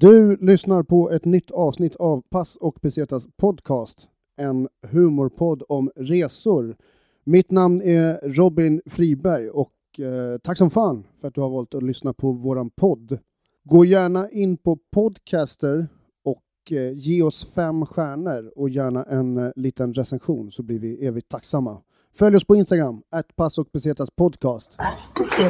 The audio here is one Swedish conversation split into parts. Du lyssnar på ett nytt avsnitt av Pass och Pesetas podcast, en humorpodd om resor. Mitt namn är Robin Friberg och eh, tack som fan för att du har valt att lyssna på våran podd. Gå gärna in på Podcaster och eh, ge oss fem stjärnor och gärna en eh, liten recension så blir vi evigt tacksamma. Följ oss på Instagram, att Pass och Pesetas podcast. assim.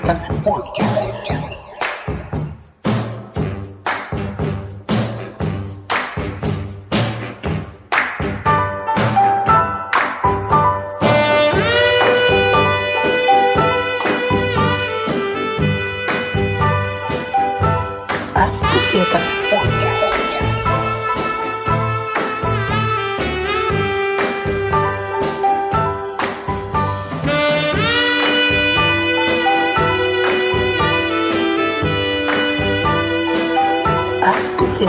assim,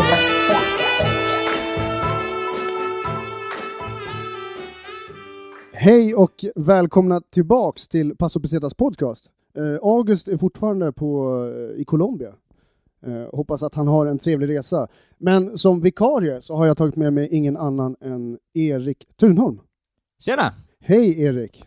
Hej och välkomna tillbaks till Paso Pesetas podcast. Eh, August är fortfarande på, eh, i Colombia. Eh, hoppas att han har en trevlig resa. Men som vikarie så har jag tagit med mig ingen annan än Erik Thunholm. Tjena! Hej Erik!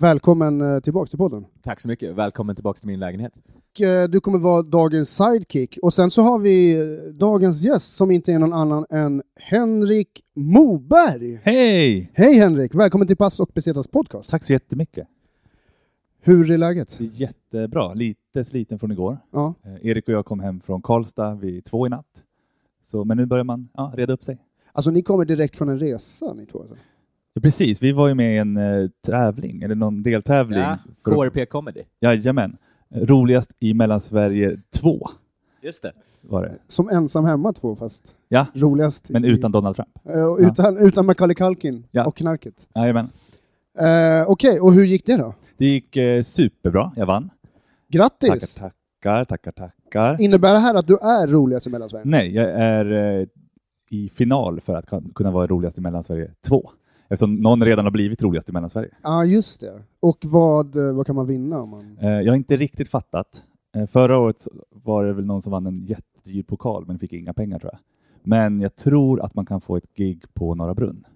Välkommen eh, tillbaks till podden. Tack så mycket. Välkommen tillbaka till min lägenhet. Och, eh, du kommer vara dagens sidekick. Och sen så har vi eh, dagens gäst som inte är någon annan än Henrik Moberg. Hej! Hej Henrik! Välkommen till Pass och Pesetas podcast. Tack så jättemycket. Hur är läget? Det är jättebra. Lite sliten från igår. Ja. Eh, Erik och jag kom hem från Karlstad vid två i natt. Så, men nu börjar man ja, reda upp sig. Alltså ni kommer direkt från en resa ni två? Alltså. Ja, precis, vi var ju med i en eh, tävling, eller någon deltävling. Ja, För- KRP Comedy. Jajamän. Eh, Roligast i Mellansverige 2 Just det. var det. Som ensam hemma två fast Ja, roligast. men i- utan Donald Trump. Eh, och utan, utan Macaulay Culkin Ja. och knarket. Jajamän. Eh, Okej, och hur gick det då? Det gick eh, superbra. Jag vann. Tackar, Grattis! tackar, tackar, tackar. Innebär det här att du är roligast i Mellansverige? Nej, jag är eh, i final för att kan- kunna vara roligast i Mellansverige 2. Eftersom någon redan har blivit roligast i Mellansverige. Ja, ah, just det. Och vad, eh, vad kan man vinna om man... Eh, Jag har inte riktigt fattat. Eh, Förra året så var det väl någon som vann en jättedyr pokal men fick inga pengar tror jag. Men jag tror att man kan få ett gig på Norra Brunn.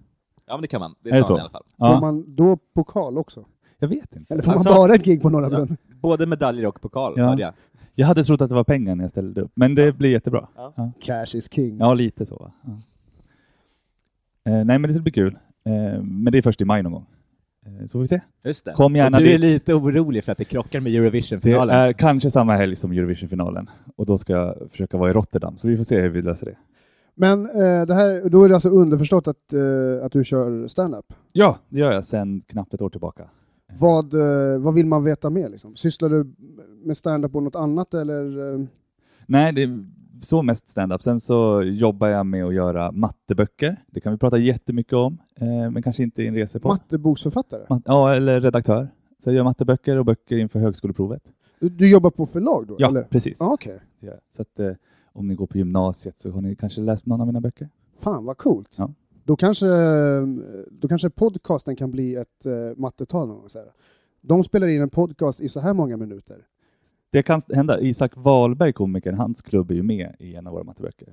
Ja, men det kan man. Det Är det sa han så? i alla fall. Får Ja, man då pokal också? jag vet inte. Eller får Alltså- man bara ett gig på Norra Ja. Brunn? Både medaljer och pokal, Ja. hörde jag. Jag hade trott att det var pengar när jag ställde upp, men det blir jättebra. Ja. Cash is king. Ja, lite så. va? Ja. Eh, Nej, men det ska bli kul. Eh, Men det är först i maj någon gång. Eh, Så får vi se. Just det. Kom gärna och du är dit. lite orolig för att det krockar med Det Eurovision-finalen. är kanske samma helg som Eurovision-finalen och då ska jag försöka vara i Rotterdam, så vi får se hur vi löser det. Men eh, det här, då är det alltså underförstått att, eh, att du kör stand-up. Ja, det gör jag sedan knappt ett år tillbaka. Vad, eh, vad vill man veta mer liksom? Sysslar du med stand-up på något annat eller? Eh, Nej, det är så mest stand-up. Sen så jobbar jag med att göra matteböcker. Det kan vi prata jättemycket om, eh, men kanske inte i en resepodd. matteboksförfattare? Mat- ja, eller redaktör. Så jag gör matteböcker och böcker inför högskoleprovet. Du, du jobbar på förlag då? Ja, eller? precis. Ja, Okej. Det gör jag. Så att, eh, om ni går på gymnasiet så har ni kanske läst någon av mina böcker. Fan vad coolt. Ja. Då, kanske, då kanske podcasten kan bli ett eh, mattetal någon gång. Så här. De spelar in en podcast i så här många minuter. Det kan hända. Isak Wahlberg, komikern, hans klubb är ju med i en av våra matteböcker.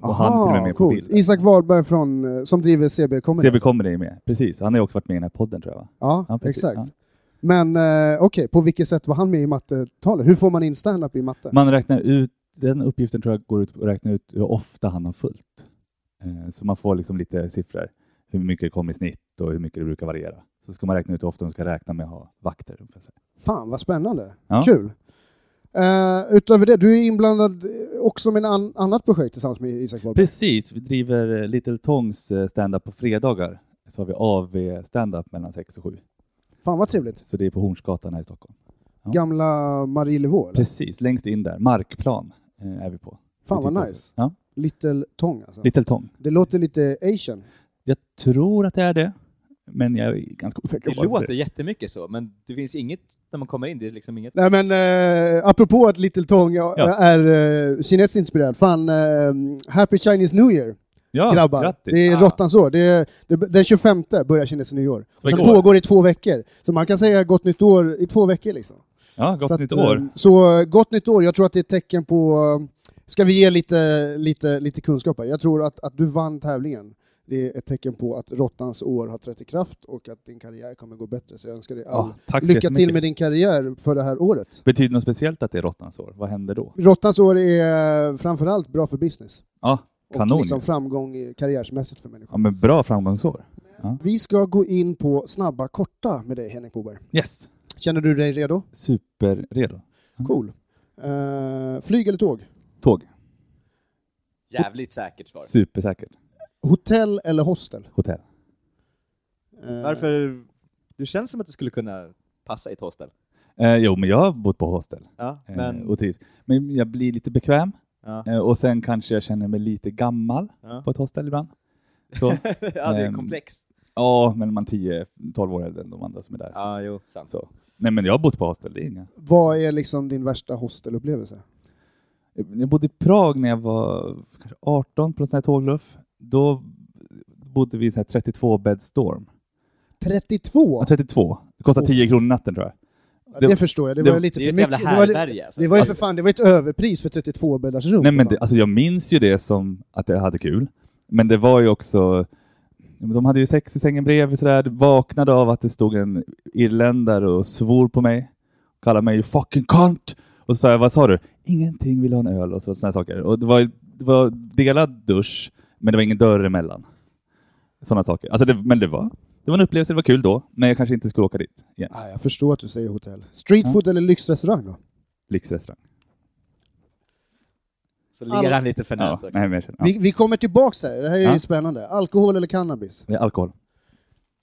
Och han är till och med med på coolt. bilden. Isak Wahlberg från, eh, som driver CB Comedy. CB Comedy är med. Precis, han har ju också varit med i den här podden tror jag. Va? Ja, Ja, precis. exakt. Men eh, okej, på vilket sätt var han med i mattetalet? Hur får man in stand-up i matte? Ja. Man räknar ut, den uppgiften tror jag går ut och räkna ut hur ofta han har fullt. Eh, Så man får liksom lite siffror. Hur mycket det kommer i snitt och hur mycket det brukar variera. Så ska man räkna ut hur ofta de ska räkna med att ha vakter. ungefär så. Fan vad spännande. Ja. Kul. Eh, utöver det, du är inblandad eh, också med ett an- annat projekt tillsammans med Isak Wahlberg. Precis, vi driver eh, Little Tångs eh, stand-up på fredagar. Så har vi AV stand-up mellan 6 och 7. Fan vad trevligt. Så det är på Hornsgatan här i Stockholm. Ja. Gamla Marielevå eller? Precis, längst in där. Markplan eh, är vi på. Fan Vi vad tittar oss- nice. Ja, Little Tång alltså. Little Tång. Det låter lite asian. Jag tror att det är det, men jag är ganska osäker Det på låter jättemycket så, men det finns inget när man kommer in. Det är liksom inget... Nej men eh, apropå att Little Tong ja, Ja. är eh, kinesiskt inspirerad, fan eh, Happy Chinese New Year Ja, grabbar. grattis. Det är Ah. råttans år. Det är, det, den 25 börjar kinesiskt nyår. Så Och sen igår. pågår i två veckor. Så man kan säga gott nytt år i två veckor liksom. Ja, gott så att, nytt eh, år. Så eh, gott nytt år, jag tror att det är ett tecken på eh, Ska vi ge lite, lite, lite kunskap här? Jag tror att, att du vann tävlingen. Det är ett tecken på att råttans år har trätt i kraft och att din karriär kommer gå bättre. Så jag önskar dig all Ja, tack så lycka till jättemycket. med din karriär för det här året. Betyder det något speciellt att det är råttans år? Vad händer då? Råttans år är eh, framförallt bra för business Ja, och kanon. liksom ju. framgång i- karriärmässigt för människor. Ja, men bra framgångsår. Vi ska gå in på snabba korta med dig Henrik Boberg. Yes, Känner du dig redo? superredo. Cool. Eh, flyg eller tåg? Tåg, Jävligt säkert svar. supersäkert. Hotell eller hostel? Hotell. Eh, Varför? Du känns som att du skulle kunna passa i ett hostel. Eh, jo, men jag har bott på hostel Ja, eh, men... och trivs. Men jag blir lite bekväm ja, eh, och sen kanske jag känner mig lite gammal ja. på ett hostel ibland. Så. ja, det är Ehm, komplext. Ja, men man är 10-12 år äldre än de andra som är där. Ja, jo, sant. Så. Nej, men jag har bott på hostel. Det är inga. Vad är liksom din värsta hostelupplevelse? Jag bodde i Prag när jag var kanske 18 på en sån här tågluff. Då bodde vi i en sån här 32 bed storm. 32? Ja, 32. Det kostar Uff. 10 kronor natten tror jag. Ja, Alltså, det- det, förstår jag, det, det- var lite Det är ju för ett jävla mycket. Det var, li- härbärge. alltså. det var ju för Alltså, fan det var ett överpris för 32 bäddars rum. Nej, för men fan. det, alltså jag minns ju det som att jag hade kul. Men det var ju också... ja, men De hade ju sex i sängen bredvid sådär. Vaknade av att det stod en irländare och svor på mig. Kallade mig ju fucking cunt. Och så sa jag, vad sa du? Ingenting, vill ha en öl och så, sådana saker. Och det var, ju- det var delad dusch, men det var ingen dörr emellan. Sådana saker. Alltså det, men det var, det var en upplevelse, det var kul då. Men jag kanske inte skulle åka dit igen. Ah, jag förstår att du säger hotell. Street Ja. food eller lyxrestaurang då? Lyxrestaurang. Så ler han lite för Ja, också. nej, men jag känner, ja. Vi, vi kommer tillbaks där, det här är ju Ja. spännande. Alkohol eller cannabis? Det är Alkohol.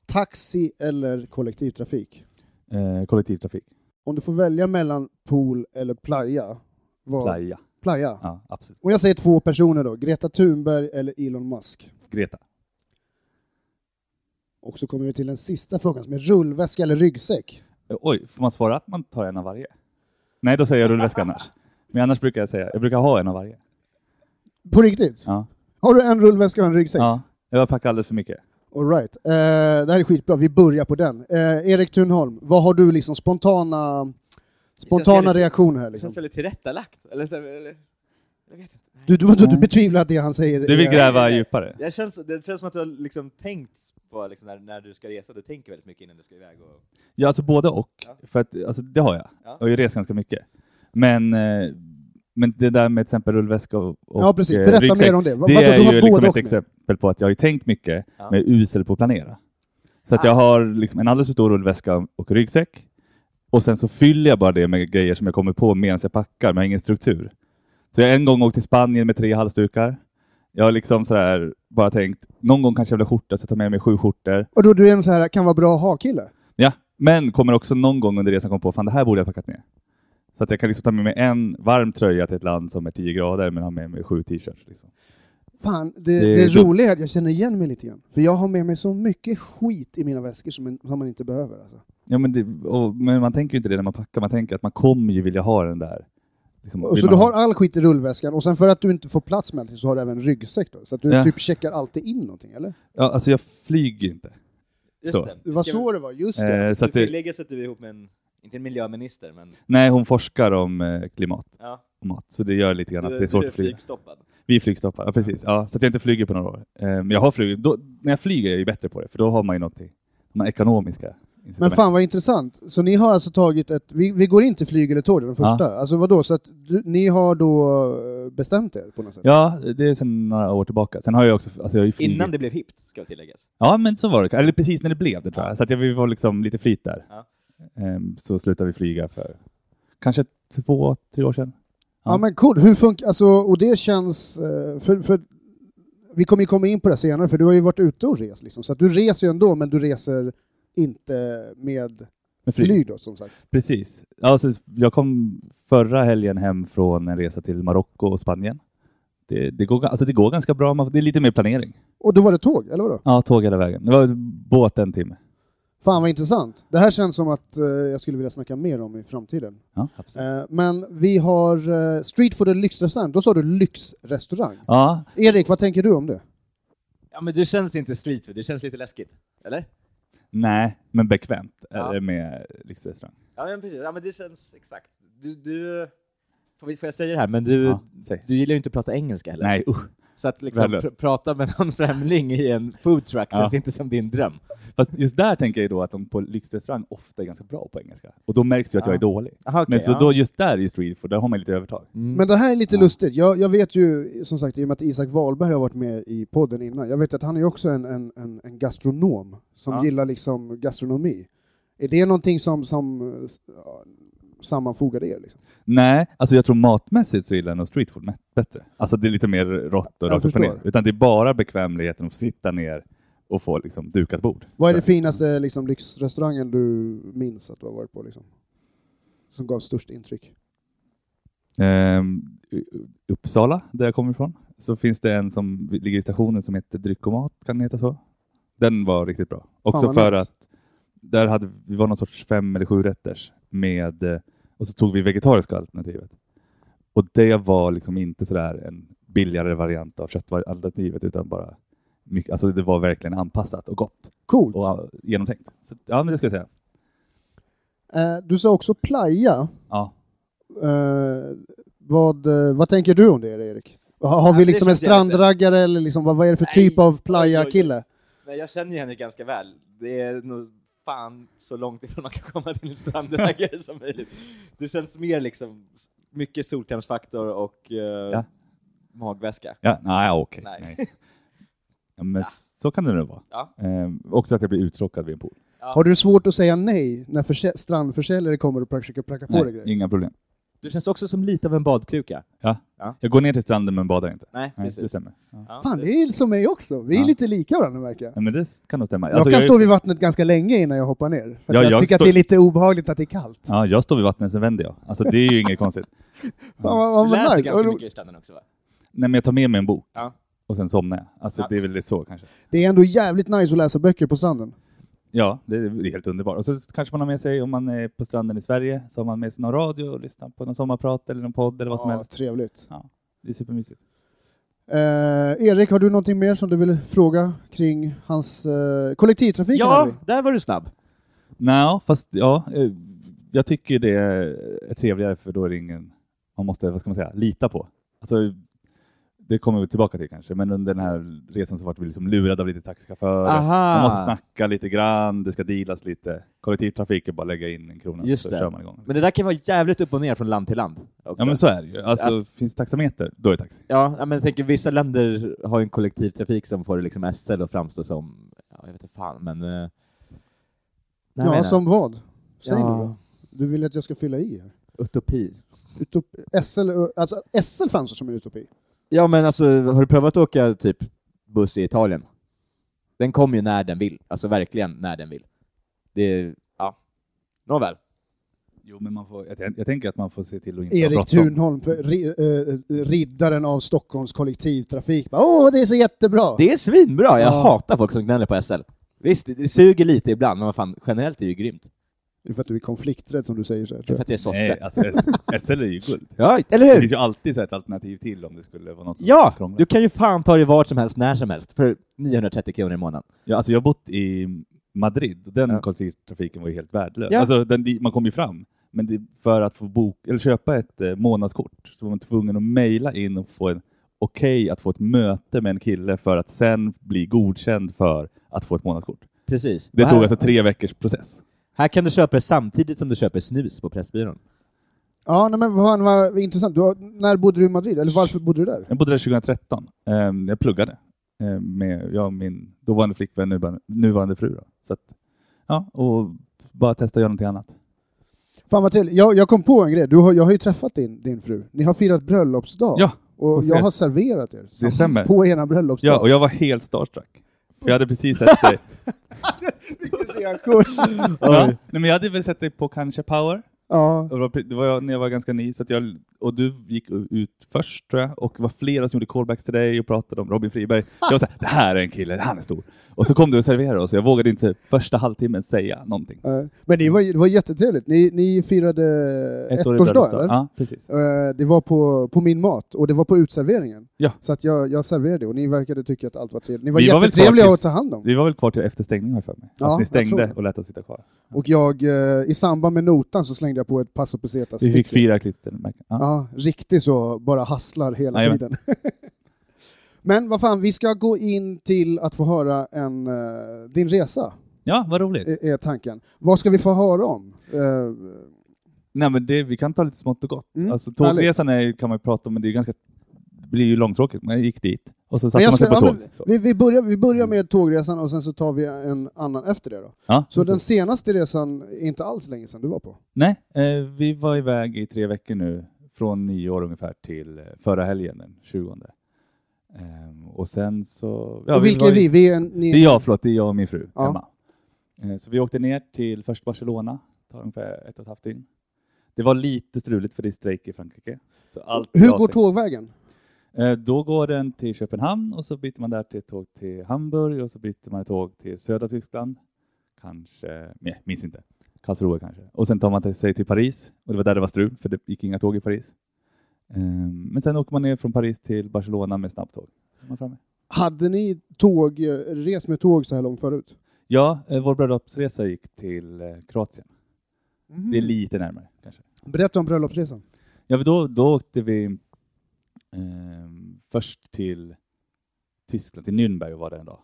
Taxi eller kollektivtrafik? Eh, kollektivtrafik. Om du får välja mellan pool eller playa? Vad? Playa. playa. Ja, absolut. Om jag säger två personer då, Greta Thunberg eller Elon Musk? Greta. Och så kommer vi till den sista frågan som är rullväska eller ryggsäck? Eh, Oj, får man svara att man tar en av varje? Nej, då säger jag rullväska annars. Men annars brukar jag säga, jag brukar ha en av varje. På riktigt? Ja. Har du en rullväska och en ryggsäck? ja. Jag packar alldeles för mycket. All right. Eh, det här är skitbra, vi börjar på den. Eh, Erik Thunholm, vad har du liksom spontana, Det känns spontana väldigt- reaktioner här? Det Liksom? känns väldigt tillrättalagt. Eller, så- eller, jag vet inte. Nej. Du, du, du, du Nej. betvivlar att det han säger Mm. Du vill är- gräva djupare? Det känns, det känns som att du har liksom tänkt på liksom när, när du ska resa, du tänker väldigt mycket innan du ska iväg. Och, Ja, alltså både och. Ja. För att, alltså, det har jag. Ja. Och jag reser ganska mycket. Men, eh, men det där med till exempel rullväska och, och Ja, precis. eh, Berätta ryggsäck, mer om det. Va- Det vadå, du har är ju liksom både ett och nu? exempel på att jag har ju tänkt mycket, Ja. men jag är usel på att planera. Så att jag har liksom en alldeles för stor rullväska och ryggsäck. Och sen så fyller jag bara det med grejer som jag kommer på medan jag packar, men jag har ingen struktur. Så jag har en gång åkt till Spanien med tre halsdukar. Jag har liksom sådär bara tänkt, någon gång kanske jag vill ha skjorta, så jag tar med mig sju skjortor. Och då du är en så här, kan vara bra att ha-kille? Ja, men kommer också någon gång under resan komma på fan det här borde jag ha packat ner. Så att jag kan liksom ta med mig en varm tröja till ett land som är 10 grader men ha med mig sju t-shirts. Liksom. Fan, det, Det är det är dumt. roliga är att jag känner igen mig lite grann. För jag har med mig så mycket skit i mina väskor som, en, som man inte behöver. Alltså. Ja, men, det, och, men man tänker ju inte det när man packar, man tänker att man kommer ju vilja ha den där. Liksom, Och vill så du man har ha- all skit i rullväskan och sen för att du inte får plats med allting så har du även en ryggsäck då. Så att du Ja. typ checkar alltid in någonting, eller? ja, alltså jag flyger ju inte. just Så. det. Det var Ska så det var, just det. Eh, vi- så Ska att det det, tilläggas att du är ihop med en, inte en miljöminister, men nej, hon forskar om eh, klimat ja, och mat, så det gör lite grann du, att det du är svårt att flyga. flygstoppad. Vi är flygstoppar, ja, precis. Ja, så att jag inte flyger på några år. Eh, men jag har flugit. Då, när jag flyger är jag ju bättre på det, för då har man ju någonting. De här ekonomiska Men incitament. fan vad intressant. Så ni har alltså tagit ett... Vi, vi går inte flyg eller tåg, det var den Ja. första. Alltså vadå, så att du, ni har då eh, bestämt er på något sätt? Ja, det är sedan några år tillbaka. Sen har jag också... Alltså jag har ju flugit- Innan det blev hippt, ska tilläggas. Ja, men så var det. Eller precis när det blev det tror jag. Så att jag, vi var liksom lite flyt där. Ja. Ehm, så slutade vi flyga för kanske två, tre år sedan. Ja men cool, hur funkar, alltså, och det känns, eh, för, för vi kommer ju komma in på det senare för du har ju varit ute och rest liksom, så att du reser ju ändå men du reser inte med Med flyg. flyg då som sagt. Precis. Ja, så jag kom förra helgen hem från en resa till Marocko och Spanien. Det, det, går, ga- alltså det går ganska bra, man, det är lite mer planering. Och då var det tåg, eller vadå? Ja, tåg hela vägen. Det var båt en timme. Fan vad intressant. Det här känns som att eh, jag skulle vilja snacka mer om i framtiden. Ja, absolut. Eh, men vi har eh, street food eller lyxrestaurang, då sa du lyxrestaurang. Ja, Erik, vad tänker du om det? Ja, men du känns inte street food, du känns lite läskigt. Eller? nej, men bekvämt Ja. är det med lyxrestaurang. Ja, men precis. Ja, men det känns exakt. Du, du, Får, vi, får jag säga det här, men du, Ja, säg. du gillar ju inte att prata engelska heller. Nej, usch. Så att liksom Värdelöst. pr- prata med någon främling i en foodtruck Ja. känns inte som din dröm. Fast just där tänker jag ju då att de på lyxrestaurang ofta är ganska bra på engelska. Och då märks ju att jag Ja. är dålig. Aha, Men så då just där i street food, där har man lite övertag. Men det här är lite lustigt. Jag, jag vet ju, som sagt, i och med att Isak Wahlberg har varit med i podden innan, jag vet att han är ju också en, en, en, en gastronom som Ja. gillar liksom gastronomi. Är det någonting som, som eh, s- ja, sammanfogar er? Liksom? Nej, alltså jag tror matmässigt så gillar jag nog street food mä- bättre. Alltså det är lite mer rått och Jag rakt upp och förstår. ner. Utan det är bara bekvämligheten att få sitta ner och få liksom dukat bord. Vad är Så. det finaste liksom, lyxrestaurangen du minns att du har varit på? Liksom? Som gav störst intryck? Ehm, U- U- Uppsala, där jag kommer ifrån, så finns det en som ligger i stationen som heter Dryck och mat, kan den heta så? Den var riktigt bra. Också vad för nice. att där hade vi var någon sorts fem eller sju rätters med eh, och så tog vi vegetariska alternativet. Och det var liksom inte sådär en billigare variant av köttalternativet utan bara mycket, alltså det var verkligen anpassat och gott Coolt! och eh, genomtänkt. Så, att- ja, men det ska jag säga. Eh, du sa också playa. Ja. Eh, vad, eh, vad tänker du om det, Erik? Har, har Ja, vi men det liksom en känns jävligt rätt. strandraggare eller liksom, vad, vad är det för Nej, typ av oj, oj, oj. playa-kille? Nej, jag känner ju Henrik ganska väl. Det är nog fan så långt ifrån man kan komma till en strandläger som möjligt. Du känns mer liksom s- mycket solkrämsfaktor och eh, magväska. Ja, nej, okej. Nej. Nej. Ja, men så kan det nog vara. Ja. Ehm, också att jag blir uttråkad vid en pool. Har du svårt att säga nej när försä- strandförsäljare kommer och försöker placka på dig Nej, grejer? inga problem. Du känns också som lite av en badkruka. Jag går ner till stranden men badar inte. Nej, Nej, det precis. stämmer. Ja. Fan, det är som mig också. Vi är Ja. lite lika varandra verkar jag. Ja, men det kan nog stämma. Jag Alltså, kan är- stå vid vattnet ganska länge innan jag hoppar ner. För Ja, att jag, jag tycker att står- det är lite obehagligt att det är kallt. Ja, jag står vid vattnet, sen vänder jag. Alltså, det är ju inget konstigt. Mm. Fan, vad, vad Du läser nice. ganska mycket i stranden också va? Nej, men jag tar med mig en bok Ja. och sen somnar jag. Alltså, Ja. Det är väl så kanske. Det är ändå jävligt nice att läsa böcker på stranden. Ja, det är det är helt underbart. Och så kanske man har med sig, om man är på stranden i Sverige, så har man med sig någon radio och lyssnar på någon sommarprat eller någon podd eller vad som ja, helst. trevligt. Det är supermysigt. Eh, Erik, har du någonting mer som du vill fråga kring hans eh, kollektivtrafiken? Henry? Ja, där var du snabb. Nej, fast ja, eh, jag tycker det är trevligare för då är det ingen man måste, vad ska man säga, lita på. Alltså, det kommer vi tillbaka till kanske, men under den här resan så vart vi liksom lurade av lite taxichaufförer. Aha. Man måste snacka lite grann, det ska dealas lite. Kollektivtrafik är bara lägga in en krona Just så det. kör man igång. Men det där kan vara jävligt upp och ner från land till land. Också. Ja men så är det ju. Alltså, Finns det taxameter, då är det taxi. Ja, ja, men jag tänker vissa länder har ju en kollektivtrafik som får liksom SL att framstå som, ja, jag vet inte fan, men... eh, nej, jag menar, ja som vad? Säg Ja. nu då. Du vill att jag ska fylla i här. utopi. Utopi, SL, alltså SL framstår som en utopi. Ja, men alltså, har du provat att åka typ buss i Italien? Den kommer ju när den vill, alltså verkligen när den vill. Det är, ja. Nåväl. Jo, men man får, jag, jag tänker att man får se till att inte ha Erik bråttom. Thunholm, för ri, eh, riddaren av Stockholms kollektivtrafik. Bara, Åh, det är så jättebra! Det är svinbra, jag Ja. hatar folk som gnäller på SL. Visst, det, det suger lite ibland, men vad fan, generellt är det ju grymt. Det är för att du är konflikträdd som du säger så här, Det är tror för jag. att jag är Nej, sosse. alltså S- SL är ju guld. Ja, eller Det hur? finns ju alltid så här ett alternativ till om det skulle vara något som Ja, krånglar. du kan ju fan ta dig vart som helst, när som helst, för 930 kronor i månaden. Ja, alltså jag har bott i Madrid och den Ja. kollektivtrafiken var ju helt värdelös. Ja. Alltså, den, di- man kom ju fram, men det, för att få bok, eller köpa ett eh, månadskort så var man tvungen att mejla in och få en okej att få ett möte med en kille för att sen bli godkänd för att få ett månadskort. Precis. Det Och tog här, alltså tre veckors process. här kan du köpa det samtidigt som du köper snus på Pressbyrån. Ja, nej, men vad, vad intressant. Du, har- när bodde du i Madrid? Eller varför bodde du där? Jag bodde där 2013. Ehm, jag pluggade. ehm, med, jag och min dåvarande flickvän, nuvarande, nuvarande fru. Då. Så att, ja, och bara testa att göra någonting annat. Fan vad trevligt. Jag, jag kom på en grej. Du har, jag har ju träffat din, din fru. Ni har firat bröllopsdag. Ja, och och jag så- har serverat er. Det stämmer. På era bröllopsdag. Ja, och jag var helt starstruck. För jag hade precis sett dig. ja. Nej, men jag hade väl sett dig på kanske Power. ja. Och det var pre- Det var jag, när jag var ganska ny. Så att jag, och du gick u- ut först tror jag. Och det var flera som gjorde callbacks till dig och pratade om Robin Friberg. Ah. Jag var såhär, det här är en kille, han är stor. Och så kom du och serverade oss. Jag vågade inte första halvtimmen säga någonting. Eh, Men det var, det var jättetrevligt. Ni, ni firade Ett år i ettårsdag, bröllopsdag. eller? Ja, precis. Eh, Det var på, på min mat och det var på utserveringen. Ja. Så att jag, jag serverade och ni verkade tycka att allt var trevligt. Ni var Vi väl jättetrevliga kvar tills- att ta hand om. Vi var väl kvar till efterstängning har jag för mig. Ja, att ni jag tror stängde det. och lät oss sitta kvar. Och jag, eh, i samband med notan så slängde jag på ett Passo Pesetas Vi fick fyra klistermärken. Ja. Ja, riktigt så, bara hasslar hela Jajamän. tiden. Men vad fan, vi ska gå in till att få höra en, eh, din resa, ja, vad roligt. är, är tanken. Vad ska vi få höra om? Eh, Nej, men det, vi kan ta lite smått och gott. Mm, Alltså, tågresan är, ju- kan man ju prata om, men det, är ju ganska, det blir ju långtråkigt. Men jag gick dit och så satte Men jag man sig skulle- på ja, tåg. men Så. Vi, vi, börjar, vi börjar med tågresan och sen så tar vi en annan efter det då. Ja, Så precis. den senaste resan är inte alls länge sedan du var på. Nej, eh, vi var iväg i tre veckor nu, från nyår ungefär till eh, förra helgen, den 20. Ehm, och sen så... ja, och vilka var är ju- vi? vi är en, ni, Det är jag, förlåt, det är jag och min fru Ja. Emma. Eh, Så vi åkte ner till först Barcelona, tar ungefär ett och ett halvt dygn. Det var lite struligt för det är strejk i Frankrike. Så allt hur går var stängt. tågvägen? Eh, Då går den till Köpenhamn och så byter man där till ett tåg till Hamburg och så byter man ett tåg till södra Tyskland. Kanske, nej, minns inte. Karlsruhe kanske. Och sen tar man till- sig till Paris och det var där det var strul för det gick inga tåg i Paris. Ehm, Men sen åker man ner från Paris till Barcelona med snabbtåg. Så är Man framme. Hade ni tåg, eh, res med tåg så här långt förut? Ja, eh, vår bröllopsresa gick till eh, Kroatien. Det Mm. är lite närmare kanske. Berätta om bröllopsresan. Ja, för då, då åkte vi ehm, först till Tyskland, till Nürnberg var det en dag.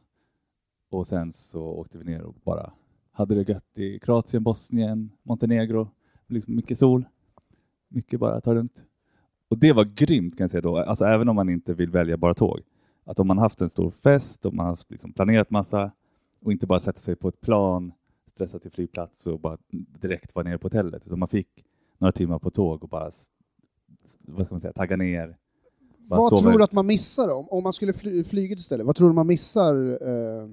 Och sen så åkte vi ner och bara hade det gött i Kroatien, Bosnien, Montenegro. Liksom mycket sol, mycket bara ta det lugnt. Och det var grymt kan jag säga då, alltså även om man inte vill välja bara tåg. Att om man haft en stor fest, om man haft liksom planerat massa och inte bara sätta sig på ett plan, stressa till flygplats och bara direkt vara nere på hotellet. Utan man fick några timmar på tåg och bara s- s- vad ska man säga, tagga ner. Bara vad sova tror du ut. att man missar då? om, om man skulle fly, flyget istället? Vad tror du man missar eh,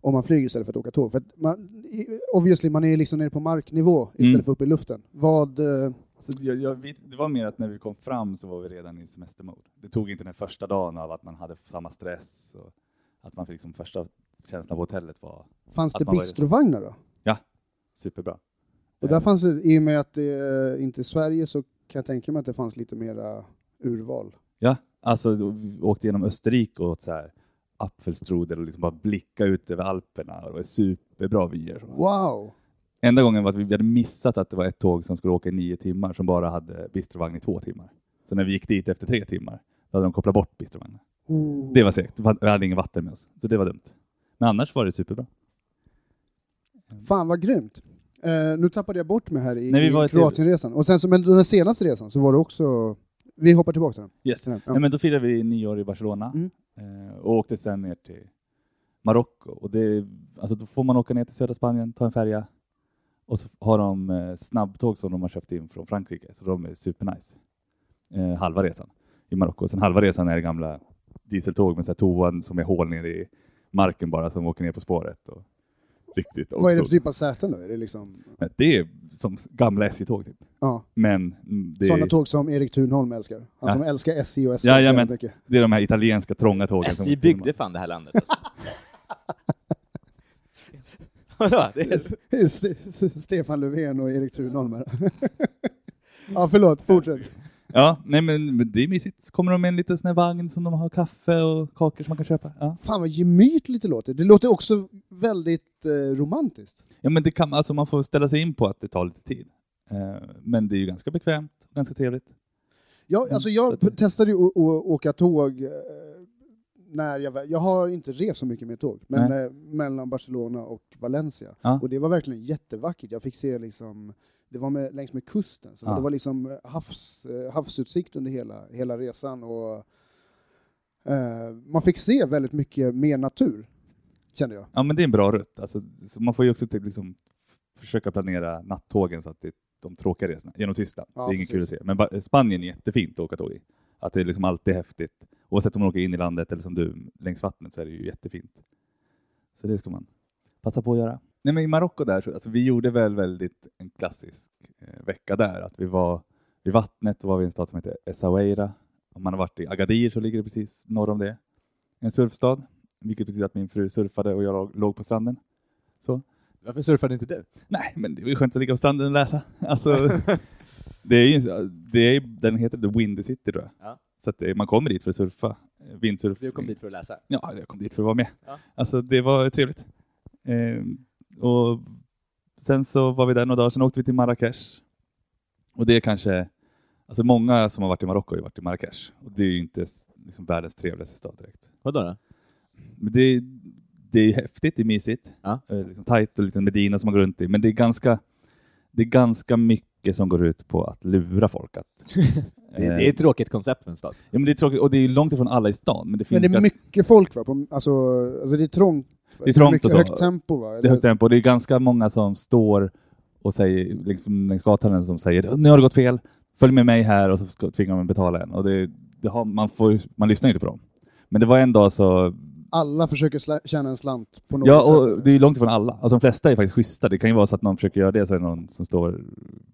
om man flyger istället för att åka tåg? För att man, i- obviously, man är ju liksom nere på marknivå istället Mm. för uppe i luften. Vad... Eh, Så jag, jag, vet- det var mer att när vi kom fram så var vi redan i semestermode. Det tog inte den första dagen av att man hade samma stress och att man fick liksom första känslan på hotellet var fanns Att det man var- bistrovagnar då? superbra. Och där fanns det, i och med att det eh, inte är Sverige så kan jag tänka mig att det fanns lite mera urval. Ja, alltså då- vi åkte genom Österrike och åt så här apfelstrudel och liksom bara blicka ut över Alperna och det var superbra vyer. Wow! Enda gången var att vi hade missat att det var ett tåg som skulle åka i nio timmar som bara hade bistrovagn i två timmar. Så när vi gick dit efter tre timmar då hade de kopplat bort bistrovagnen. Oh. Det var segt. Vi hade inget vatten med oss, så det var dumt. Men annars var det superbra. Fan vad grymt! Eh, nu tappade jag bort mig här i, Nej, vi var i i- Kroatienresan. Och sen, så- men den här senaste resan så var det också... Vi hoppar tillbaka till den. Yes. Till den. Nej, men då firade vi nyår i Barcelona Mm. eh, och åkte sen ner till Marocko. Och det, alltså då får man åka ner till södra Spanien, ta en färja och så har de eh, snabbtåg som de har köpt in från Frankrike, så de är supernice. Eh, halva resan i Marocko. Sen halva resan är det gamla dieseltåg med så här toan som är hål nere i marken bara som åker ner på spåret. Och riktigt Vad är det old för typ av säten då? Är det liksom... school. Det är som gamla SJ-tåg typ. Ja, Men mm, det sådana är, tåg som Erik Thunholm älskar. Han Ja. som älskar SJ och SL Ja, så jävla jajamän. mycket. det är de här italienska trånga tågen. som- SJ byggde fan det här landet alltså. Vadå? Det är- Ste- Ste- Stefan Löfven och Erik Thunholm här. ja, förlåt. Fortsätt. Ja, nej men men det är mysigt. Så kommer de med en liten sån här vagn som de har kaffe och kakor som man kan köpa. Ja, Fan vad gemytligt det låter. Det låter också väldigt eh, romantiskt. ja men det kan, alltså man får ställa sig in på att det tar lite tid. Eh, Men det är ju ganska bekvämt, ganska trevligt. Jag, alltså jag Mm, så att- testade ju att, att åka tåg eh, när jag var- Jag har inte rest så mycket med tåg, men eh, mellan Barcelona och Valencia. Ja. Och det var verkligen jättevackert. Jag fick se liksom, det var med, längs med kusten, så Ja. det var liksom havs, eh, havsutsikt under hela, hela resan. Och, eh, man fick se väldigt mycket mer natur, kände jag. Ja men det är en bra rutt. Alltså, så man får ju också till, liksom, försöka planera nattågen så att det, de tråkiga resorna genom Tyskland. Ja, det är ingen kul att precis. se. Men ba- Spanien är jättefint att åka tåg i. Att det är liksom alltid häftigt. Oavsett om man åker in i landet eller som du, längs vattnet så är det ju jättefint. Så det ska man passa på att göra. Nej men i Marocko där, så, alltså, vi gjorde väl väldigt en klassisk eh, vecka där. Att vi var vid vattnet och var vi i en stad som heter Essaouira. Om man har varit i Agadir så ligger det precis norr om det. En surfstad, vilket betyder att min fru surfade och jag låg- låg på stranden. Så. Varför surfade inte du? Nej, men det är ju skönt att ligga på stranden och läsa. Alltså, det är ju, det är, den heter The Windy City tror jag. Ja. Så att det, man kommer dit för att surfa. eh, Windsurfing. Du kom dit för att läsa. Ja, jag kom dit för att vara med. Ja. Alltså det var trevligt. Ehm, och sen så var vi där några dagar, sen åkte vi till Marrakesh Och det är kanske, alltså många som har varit i Marocko har ju varit i Marrakesh och det är ju inte s- liksom världens trevligaste stad direkt. Vadå då? Men det, är- det är häftigt, det är mysigt, Ja. eh, liksom tajt och liten Medina som man går runt i, men det är ganska, det är ganska mycket som går ut på att lura folk. Att, eh, Det, det är ett tråkigt koncept för en stad. ja, men det är tråkigt och det är ju långt ifrån alla i stan, men det finns Men det är ganska- mycket folk va? På, alltså, alltså det är trångt. Det är trångt mycket och så. högt tempo va? Det är högt tempo. Det är ganska många som står och säger, liksom längs gatan som säger nu har det gått fel, följ med mig här och så ska- tvingar man betala en. Och det, det har, man, får, ju- man lyssnar ju inte på dem. Men det var en dag så... Alla försöker sla- tjäna en slant på något Ja, och sätt. det är ju långt ifrån alla. Alltså de flesta är faktiskt schyssta. Det kan ju vara så att någon försöker göra det så är det någon som står,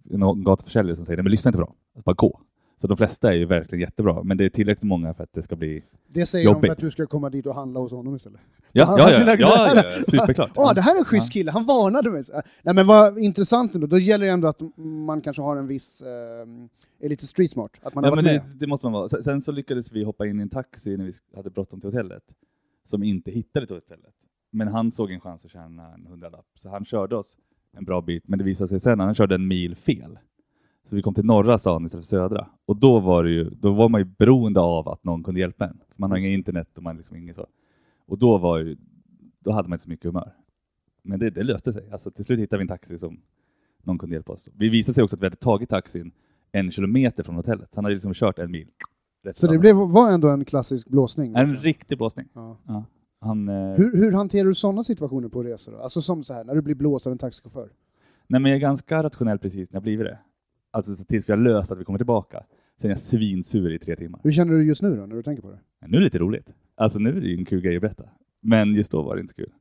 någon gatuförsäljare som säger nej men lyssna inte på dem, Att bara gå. Så de flesta är ju verkligen jättebra, men det är tillräckligt många för att det ska bli... Det säger de jobbigt. för att du ska komma dit och handla hos honom istället. Ja, ja, ja, ja, ja, Ja, ja superklart. Åh, det här är en schysst kille, han varnade mig. Så, äh, Nej men vad intressant ändå, då gäller det ändå att man kanske har en viss, eh, är lite street smart. Att man har ja, men varit det, med. det måste man vara. Sen, sen så lyckades vi hoppa in i en taxi när vi sk- hade bråttom till hotellet, som inte hittade till hotellet. Men han såg en chans att tjäna en hundralapp, så han körde oss en bra bit. Men det visade sig sen att han körde en mil fel. Så vi kom till norra stan istället för södra. Och då var, det ju, då var man ju beroende av att någon kunde hjälpa en. För man har inget internet och man liksom inget så. Och då, var ju, då hade man inte så mycket humör. Men det, det löste sig. Alltså, till slut hittade vi en taxi som någon kunde hjälpa oss. Vi visade sig också att vi hade tagit taxin en kilometer från hotellet. Så han hade liksom kört en mil. rätt Så det fram. blev, var ändå en klassisk blåsning. En riktig blåsning. Ja. Ja. Han, eh, Hur, hur hanterar du sådana situationer på resor? Då? Alltså som så här, när du blir blåst av en taxichaufför. Nej, men jag är ganska rationell precis när jag blivit det. Alltså så tills vi har löst att vi kommer tillbaka. Sen är jag svinsur i tre timmar. Hur känner du just nu då, när du tänker på det? Men nu är det lite roligt. Alltså nu är det ju en kul grej att berätta. Men just då var det inte så kul.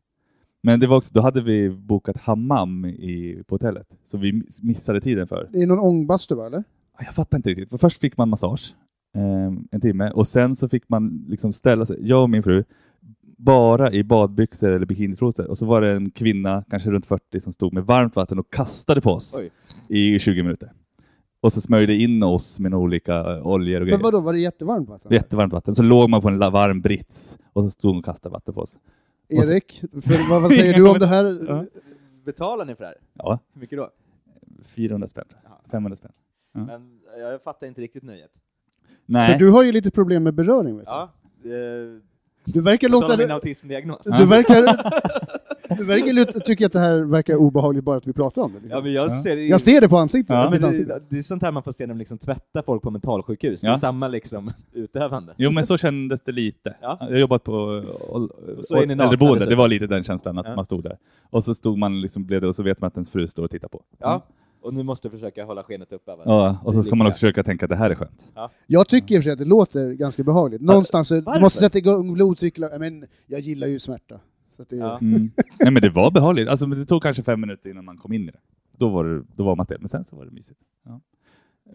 Men det var också, då hade vi bokat hammam i, på hotellet, så vi missade tiden för. Det är någon ångbastu va, eller? Ah, Jag fattar inte riktigt. För Först fick man massage eh, en timme och sen så fick man liksom ställa sig, jag och min fru, bara i badbyxor eller bikinitrosor. Och så var det en kvinna, kanske runt 40, som stod med varmt vatten och kastade på oss Oj. i 20 minuter. Och så smörjde in oss med några olika eh, oljor Men och grejer. vadå, var det jättevarmt vatten? Jättevarmt vatten. Så låg man på en la- varm brits och så stod hon och kastade vatten på oss. Erik, för, vad, vad säger du om det här? Ja. Betalar ni för det här? Ja, Hur mycket då? 400 spänn. tror jag. Ja. 500 spänn. Men eh, jag fattar inte riktigt nöjet. Nej. För du har ju lite problem med beröring vet du. Ja, eh, Du verkar på tal låta... om min Du, autismdiagnos. du verkar... Du verkar lut- tycka att det här verkar obehagligt bara att vi pratar om det. Liksom. Ja, men jag Ja. ser det ju- Jag ser det på ansiktet. Ja, på men ditt det, ansikte. det, är sånt här man får se när de liksom tvättar folk på mentalsjukhus. Det är Ja. Mm. samma liksom utövande. Jo, men så kändes det lite. Ja. Jag har jobbat på eh, ål- så är ni nakna äldreboende. dessutom. Det var lite den känslan, att Ja. man stod där. Och så stod man liksom blev det, och så vet man att ens fru står och tittar på. Ja. Och nu måste du försöka hålla skenet uppe. va? Ja, och så ska man Lika. också försöka tänka att det här är skönt. Jag tycker i och för sig att det låter ganska behagligt. Någonstans, så- du Varför? måste sätta igång blodcirklar. Ja, Men jag gillar ju smärta. Så att det, Ja. Mm. Nej, men det var behagligt. Alltså, men det tog kanske fem minuter innan man kom in i det. Då var, det, då var man stel, men sen så var det mysigt. Ja.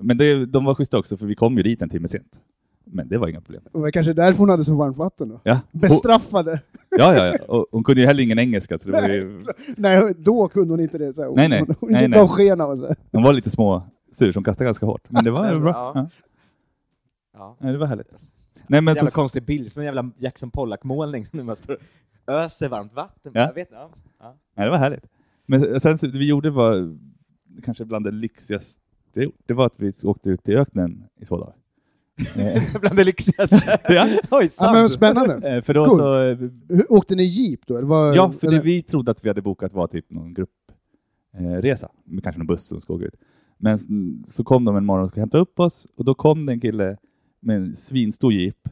Men det, de var schyssta också, för vi kom ju dit en timme sent. Men det var inga problem. Det var kanske därför hon hade så varmt vatten då. Ja. Och, Bestraffade! ja, ja, ja. Och, hon kunde ju heller ingen engelska, så det var ju, Nej, då kunde hon inte det. Så här. Hon, Nej, nej. Hon, hon Nej, gick nej. av skena och så. här. de var lite små sur som kastade ganska hårt. Men det var bra. Ja. Ja. Ja. Nej, det var härligt. Nej, men jävla så, konstig bild, som en jävla Jackson Pollack-målning. Nu man står och öser varmt vatten. Ja. Jag vet, ja. Ja. nej, det var härligt. Men sen så, det vi gjorde var kanske bland det lyxigaste jag gjort. Det var att vi åkte ut i öknen i två dagar. Eh, Bland det lyxigaste. ja, Oj, Ja, sant. men spännande. eh, för då Cool. så eh, Hur- Åkte ni jeep då? Eller var, Ja, för det eller? vi trodde att vi hade bokat var typ någon gruppresa, eh, resa. med kanske någon buss som ska åka ut. Men s- så kom de en morgon och skulle hämta upp oss och då kom det en kille med en svinstor jeep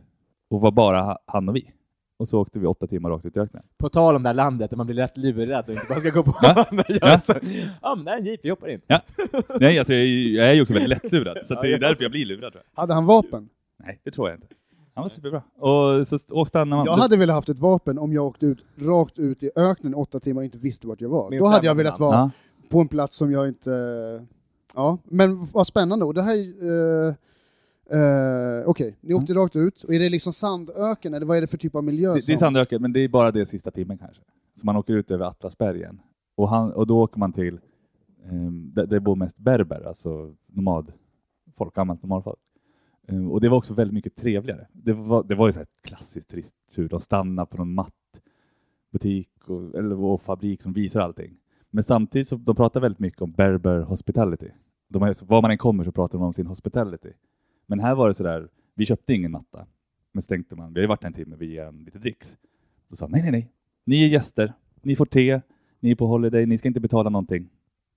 och var bara ha- han och vi. Och så åkte vi åtta timmar rakt ut i öknen. På tal om det här landet, där man blir lätt lurad och inte bara ska gå på Ja. andra. Ja. Ja. Så, ja, men det här är en jeep, vi hoppar in. Nej, alltså jag är ju jag är ju också väldigt lättlurad, så att det Ja, är ja. därför jag blir lurad. Tror jag. Hade han vapen? Nej, det tror jag inte. Han var superbra. Och så st- och stannade man. Jag hade velat haft ett vapen om jag åkte ut, rakt ut i öknen åtta timmar och inte visste vart jag var. Min Då hade jag främmande velat man. vara ja. på en plats som jag inte... Ja, men vad spännande. Och det här... Eh, eh, Okej, ni åkte rakt ut. Och är det liksom sandöken, eller vad är det för typ av miljö? Mm. det, det är som- Sandöken, men det är bara det sista timmen kanske. Så man åker ut över Atlasbergen och, han, och då åker man till ehm, där, där bor mest berber, alltså nomadfolk, gammalt nomadfolk. Ehm, och det var också väldigt mycket trevligare. Det var, det var ju så här ett klassiskt turisttur. De stannade på någon mattbutik och, eller, och fabrik som visar allting. Men samtidigt så de pratar väldigt mycket om berber hospitality. de har, var man än kommer så pratar de om sin hospitality. Men här var det sådär, vi köpte ingen matta, men så tänkte man, vi har ju varit här en timme, vi ger en lite dricks. Då sa de, nej, nej, nej, ni är gäster, ni får te, ni är på holiday, ni ska inte betala någonting.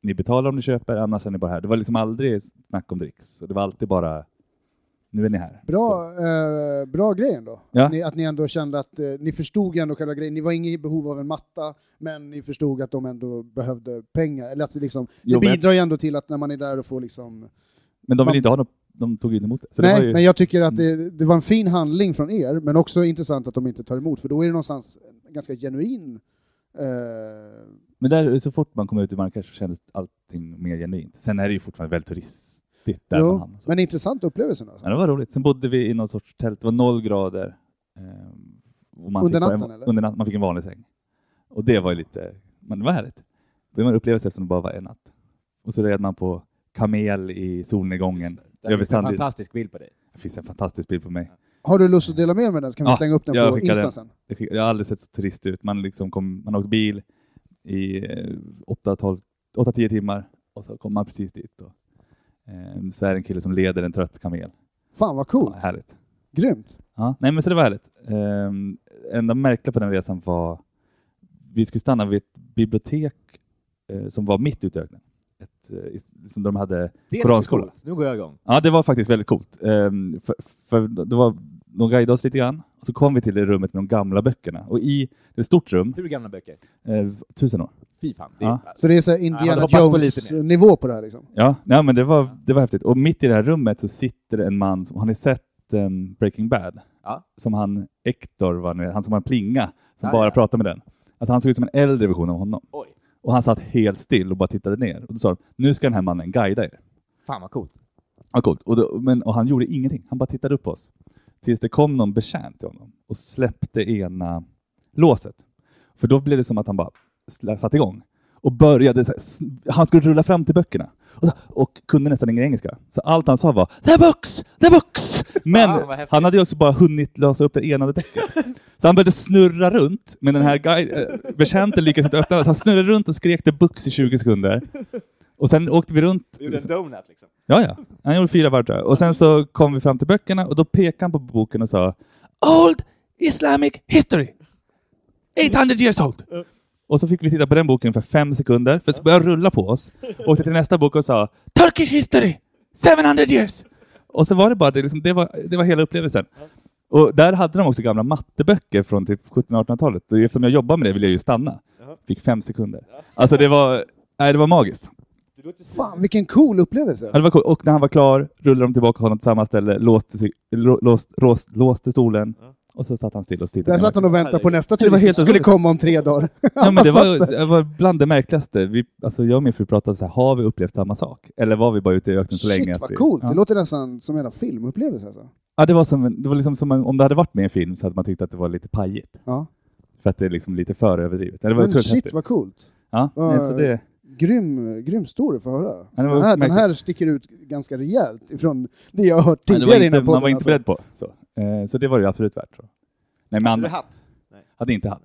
Ni betalar om ni köper, annars är ni bara här. Det var liksom aldrig snack om dricks, det var alltid bara, nu är ni här. Så. Bra, eh, bra grej ändå. Ja. Att, ni, att ni ändå kände att eh, ni förstod ju ändå själva grejen. Ni var inget i behov av en matta, men ni förstod att de ändå behövde pengar. Eller att det, liksom, Jo, det men- bidrar ju ändå till att när man är där och får liksom... Men de Man- ville inte ha något, de tog inte emot det. Så det Nej, var ju, Mm. men jag tycker att det, det var en fin handling från er, men också intressant att de inte tar emot, för då är det någonstans en ganska genuin... Eh, Men där, så fort man kom ut i Marrakesh så kändes allting mer genuint. Sen är det ju fortfarande väldigt turistigt där man jo, hamnar. Så. men intressant upplevelse. Alltså. Ja, det var roligt. Sen bodde vi i någon sorts tält, det var noll grader. ehm, och man Under fick bara natten, en, eller? Under natten, man fick en vanlig säng. Och det var ju lite, men det var härligt. Det var en upplevelse eftersom det bara var en natt. Och så red man på kamel i solnedgången. Det är Över en Sandvik. fantastisk bild på dig. Det finns en fantastisk bild på mig. Har du lust att dela med dig av den så kan vi Ja, slänga upp den jag på skickar den. Insta sen. Det skick- Jag har aldrig sett så turist ut. Man, liksom kom, man åkte bil i eh, 8-10 timmar och så kom man precis dit. Och, ehm, så är det en kille som leder en trött kamel. Fan vad coolt. Ja, härligt. Grymt. Ja, nej men så det var härligt. Um, enda märkliga på den resan var vi skulle stanna vid ett bibliotek eh, som var mitt ute i öknen. Ett, eh, is- som de hade, Det är Koranskola. lite coolt. Nu går jag igång. ja, det var faktiskt väldigt coolt. Ehm, för, för det var, de guidade oss lite grann och så kom vi till det rummet med de gamla böckerna. Och i det är ett stort rum, Hur gamla böcker? eh, tusen år. Fy fan. Det är, Ja. Så det är så här Ja, det Indiana hoppas på lite Jones-nivå på det här liksom. Ja, nej, men det var, det var häftigt. Och mitt i det här rummet så sitter en man, som, har ni sett ehm, Breaking Bad? Ja. Som han, Hector, var nu, han som har en plinga, som Ja, bara ja. pratar med den. Alltså han såg ut som en äldre version av honom. Oj. Och han satt helt still och bara tittade ner. Och då sa de, nu ska den här mannen guida er. Fan vad coolt. Ja, coolt. Och, då, men, och han gjorde ingenting, han bara tittade upp på oss. Tills det kom någon betjänt till honom och släppte ena låset. För då blev det som att han bara sla- satte igång och började, så här s- han skulle rulla fram till böckerna. Och, så- och kunde nästan ingen engelska. Så allt han sa var ”The books! The books!” Men Fan, vad häftigt. han hade ju också bara hunnit lösa upp det ena däcket. Så han började snurra runt, men den här guide, äh, betjänten lyckades inte öppna. Så han snurrade runt och skrek ”The books” i 20 sekunder. Och sen åkte vi runt. Du gjorde en donut liksom. Ja, ja. Han gjorde fyra varv tror jag. Och sen så kom vi fram till böckerna och då pekade han på boken och sa Old Islamic History! 800 years old! Och så fick vi titta på den boken för fem sekunder, för så började den rulla på oss. Och åkte till nästa bok och sa Turkish History! 700 years! Och så var det bara det, liksom, det, var, det var hela upplevelsen. Och där hade de också gamla matteböcker från typ 1700-1800-talet. Och eftersom jag jobbar med det ville jag ju stanna. Fick fem sekunder. Alltså det var, nej, det var magiskt. Det låter Fan vilken cool upplevelse. Ja, det var coolt. Och när han var klar rullade de tillbaka honom till samma ställe, låste, sig- lå- låst, låst, låste stolen och så satt han still och tittade. Där satt han och väntade på nästa Det var turist som helt skulle otroligt. komma om tre dagar. ja, men det, Han satt var, där. det var bland det märkligaste. Vi, alltså jag och min fru pratade så här, har vi upplevt samma sak? Eller var vi bara ute i öknen så länge? Shit att vi- vad coolt. Ja. Det låter nästan som en jävla filmupplevelse alltså. Ja, det var, som, en- det var liksom som en, om det hade varit med i en film så hade man tyckt att det var lite pajigt. Ja. För att det är liksom lite för överdrivet. Ja, Det var Men otroligt shit häftigt. vad coolt. Ja, nej, så det, Grym, grym story för att höra. Ja, det var Den här, den märkligt. här sticker ut ganska rejält ifrån det jag har hört nej, det var tidigare inte, innan man var podden. inte alltså. beredd på. Så, eh, så det var det ju absolut värt. Så. Nej, men Hade du andra hatt? hade inte haft.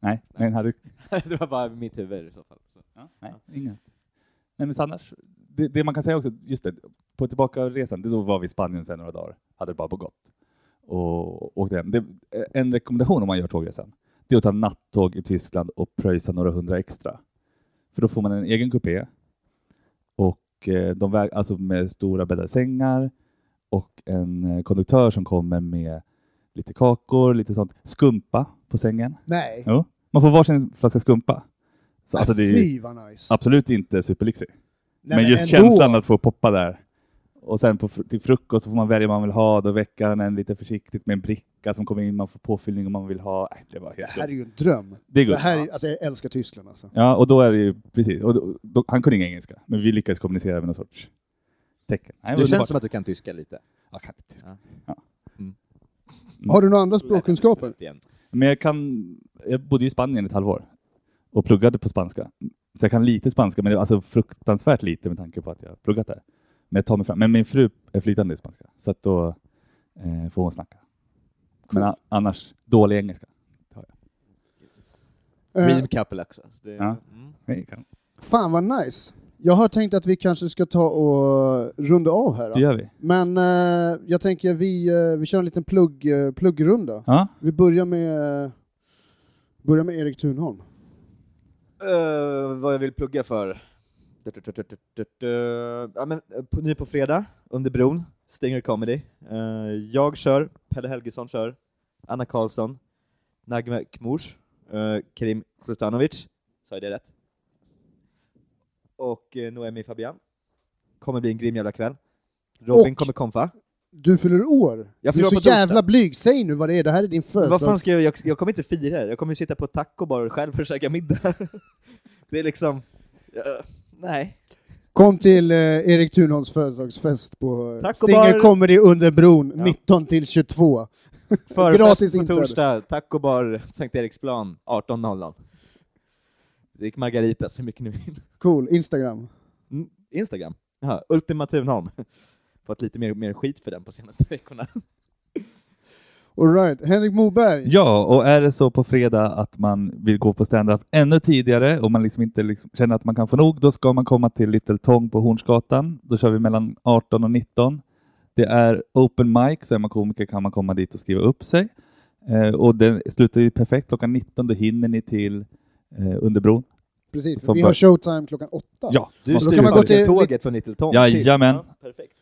Nej, men hade det var bara mitt huvud i så fall. Så. Nej, inga. Nej, men så annars, det, det man kan säga också, just det, på tillbaka resan, då var vi i Spanien sen några dagar, hade det bara på gott. Och åkte hem. Det, eh, en rekommendation om man gör tågresan, det är att ta nattåg i Tyskland och pröjsa några hundra extra. För då får man en egen kupé, och eh, de väg, alltså med stora bäddade sängar och en eh, konduktör som kommer med lite kakor, lite sånt, skumpa på sängen. Nej. Jo, man får varsin flaska skumpa. Så, alltså, det är ju- Fy vad nice. Absolut inte superlyxig. Nej, men, just ändå. känslan att få poppa där. Och sen på, fr- till frukost så får man välja vad man vill ha. Då väcker han en lite försiktigt med en bricka som kommer in. Man får påfyllning om man vill ha. Äh, det var Det helt här är gott. ju en dröm. Det är Det gott. här är, alltså, jag älskar Tyskland alltså. Ja, och då är det ju precis. Och då, då, han kunde ingen engelska, men vi lyckades kommunicera med någon sorts tecken. Nej, Det underbart. känns som att du kan tyska lite. Ja, kan inte tyska. Mm. Har du några andra språkkunskaper? Igen. Men jag kan... Jag bodde ju i Spanien ett halvår och pluggade på spanska. Så jag kan lite spanska, men det är alltså fruktansvärt lite med tanke på att jag har pluggat där. Men jag tar mig fram. Men min fru är flytande i spanska, så att då eh, får hon snacka. Men a- annars, dålig engelska. Eh, Dream couple också. Det, Ja. mm. Nej, kan. fan vad nice. Jag har tänkt att vi kanske ska ta och runda av här. Det Då. gör vi. Men eh, jag tänker vi, eh, vi kör en liten plugg, eh, pluggrunda. Ja, Vi börjar med, eh, börjar med Erik Thunholm. Eh, vad jag vill plugga för? Du, du, du, du, du, du, du. Ja, men, eh, på, ny på fredag, Under bron, Stinger Comedy. Eh, jag kör, Pelle Helgesson kör, Anna Karlsson, Nagme Kmors, eh, Karim Krustanovic, sa jag det rätt? Och uh, Noemi Fabian. Kommer bli en grym jävla kväll. Robin Och- kommer komfa. Du fyller år. Jag du är fyller år så på torsdag. jävla blyg. Säg nu vad det är. Det här är din Vad fan födelsedag. ska jag, jag, jag kommer inte fira det. Jag kommer sitta på taco bara själv och käka middag. det är liksom... eh, nej. Kom till eh, Erik Thunholms födelsedagsfest på eh, Tack och Stinger bar. Comedy under bron Ja. 19 till 22. Gratis Förfest på inträde. torsdag, taco bar, Sankt Eriksplan, 18.00. Drick margaritas hur mycket ni vill. Cool. Instagram. Mm, Instagram. Jaha, Ultima Thunholm. Fått lite mer, mer skit för den på senaste veckorna. All right. Henrik Moberg. Ja, och är det så på fredag att man vill gå på stand-up ännu tidigare och man liksom inte liksom känner att man kan få nog, då ska man komma till Little Tång på Hornsgatan. Då kör vi mellan 18 och 19. Det är open mic, så är man komiker kan man komma dit och skriva upp sig. Eh, och den slutar ju perfekt klockan 19, då hinner ni till eh, Underbron. Precis. Som vi bör- har showtime klockan åtta. Ja, Du styr kan man styr gå till- tåget från Nitteltång. Jajamän. perfekt.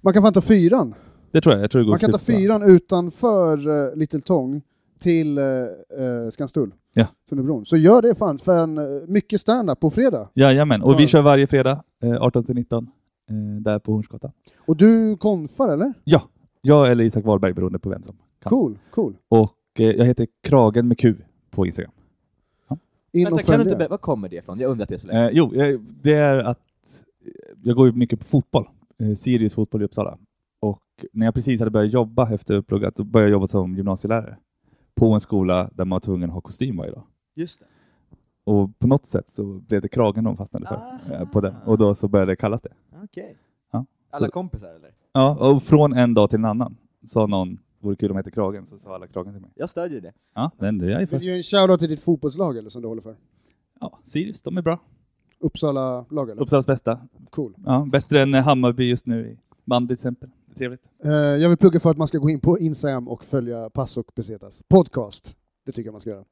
Man kan fan ta fyran. det tror jag. jag tror det går Man kan ta superbra. fyran utanför uh, Little Tång till eh, eh, Skanstull. Ja. Tunnelbron. Så gör det fan, för en, eh, mycket stand-up på fredag. Jajamän, och Ja. vi kör varje fredag eh, 18 till 19 eh, där på Hornsgatan. Och du konfar eller? Jag eller Isak Wahlberg beroende på vem som kan. Cool, cool. Och eh, jag heter Kragen med Q på Instagram. In Vänta, och kan följ du inte, det. be- var kommer det ifrån? Jag undrar det så länge. Eh, jo, eh, det är att eh, jag går ju mycket på fotboll. Eh, Sirius fotboll i Uppsala. Och när jag precis hade börjat jobba efter uppluggat, då började jag jobba som gymnasielärare på en skola där man var tvungen att ha kostym varje dag. Just det. Och på något sätt så blev det kragen de fastnade för. Aha. Eh, på den. Och då så började det kallas det. Ah, Okej. Ja, Alla så- kompisar eller? Ja, och från en dag till en annan sa någon, vore kul om jag hette Kragen, så sa alla Kragen till mig. Jag stödjer det. Ja, den är jag ju Vill för. du ge en shoutout till ditt fotbollslag eller som du håller för? Ja, Sirius, de är bra. Uppsala-lag eller? Uppsalas bästa. Cool. Ja, bättre än eh, Hammarby just nu i bandy till exempel. Det är Trevligt. Eh, jag vill plugga för att man ska gå in på Instagram och följa Pass och Besetas podcast. Det tycker jag man ska göra.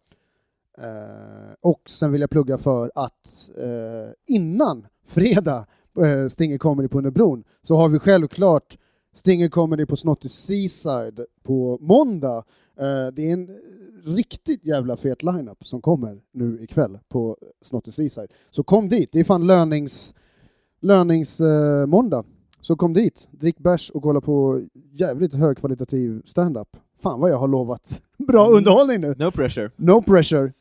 Eh, och sen vill jag plugga för att eh, innan fredag eh, Stinger Comedy på Underbron så har vi självklart Stinger Comedy på Snotty Seaside på måndag. Eh, det är en riktigt jävla fet lineup som kommer nu ikväll på Snotty Seaside. Så kom dit, det är fan lönings, lönings, eh, måndag. Så kom dit, drick bärs och kolla på jävligt högkvalitativ stand-up. Fan vad jag har lovat bra underhållning nu. No pressure. No pressure.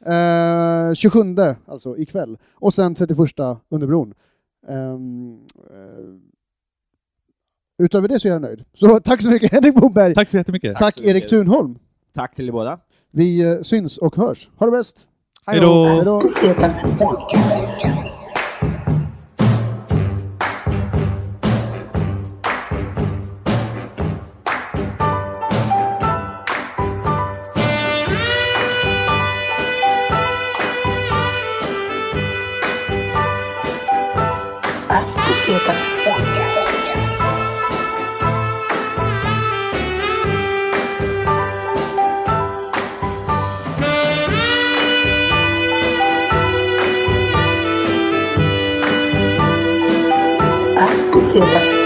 Eh, 27 alltså ikväll. Och sen 31 under bron. Ehm, eh, utöver det så är jag nöjd. Så tack så mycket Henrik Boberg. Tack, Tack så jättemycket. Tack så mycket. Erik Thunholm. Tack till er båda. Vi eh, syns och hörs. Ha det bäst. Hej då! Hej då. Pesetas Podcast. As Pesetas Podcast. As Pesetas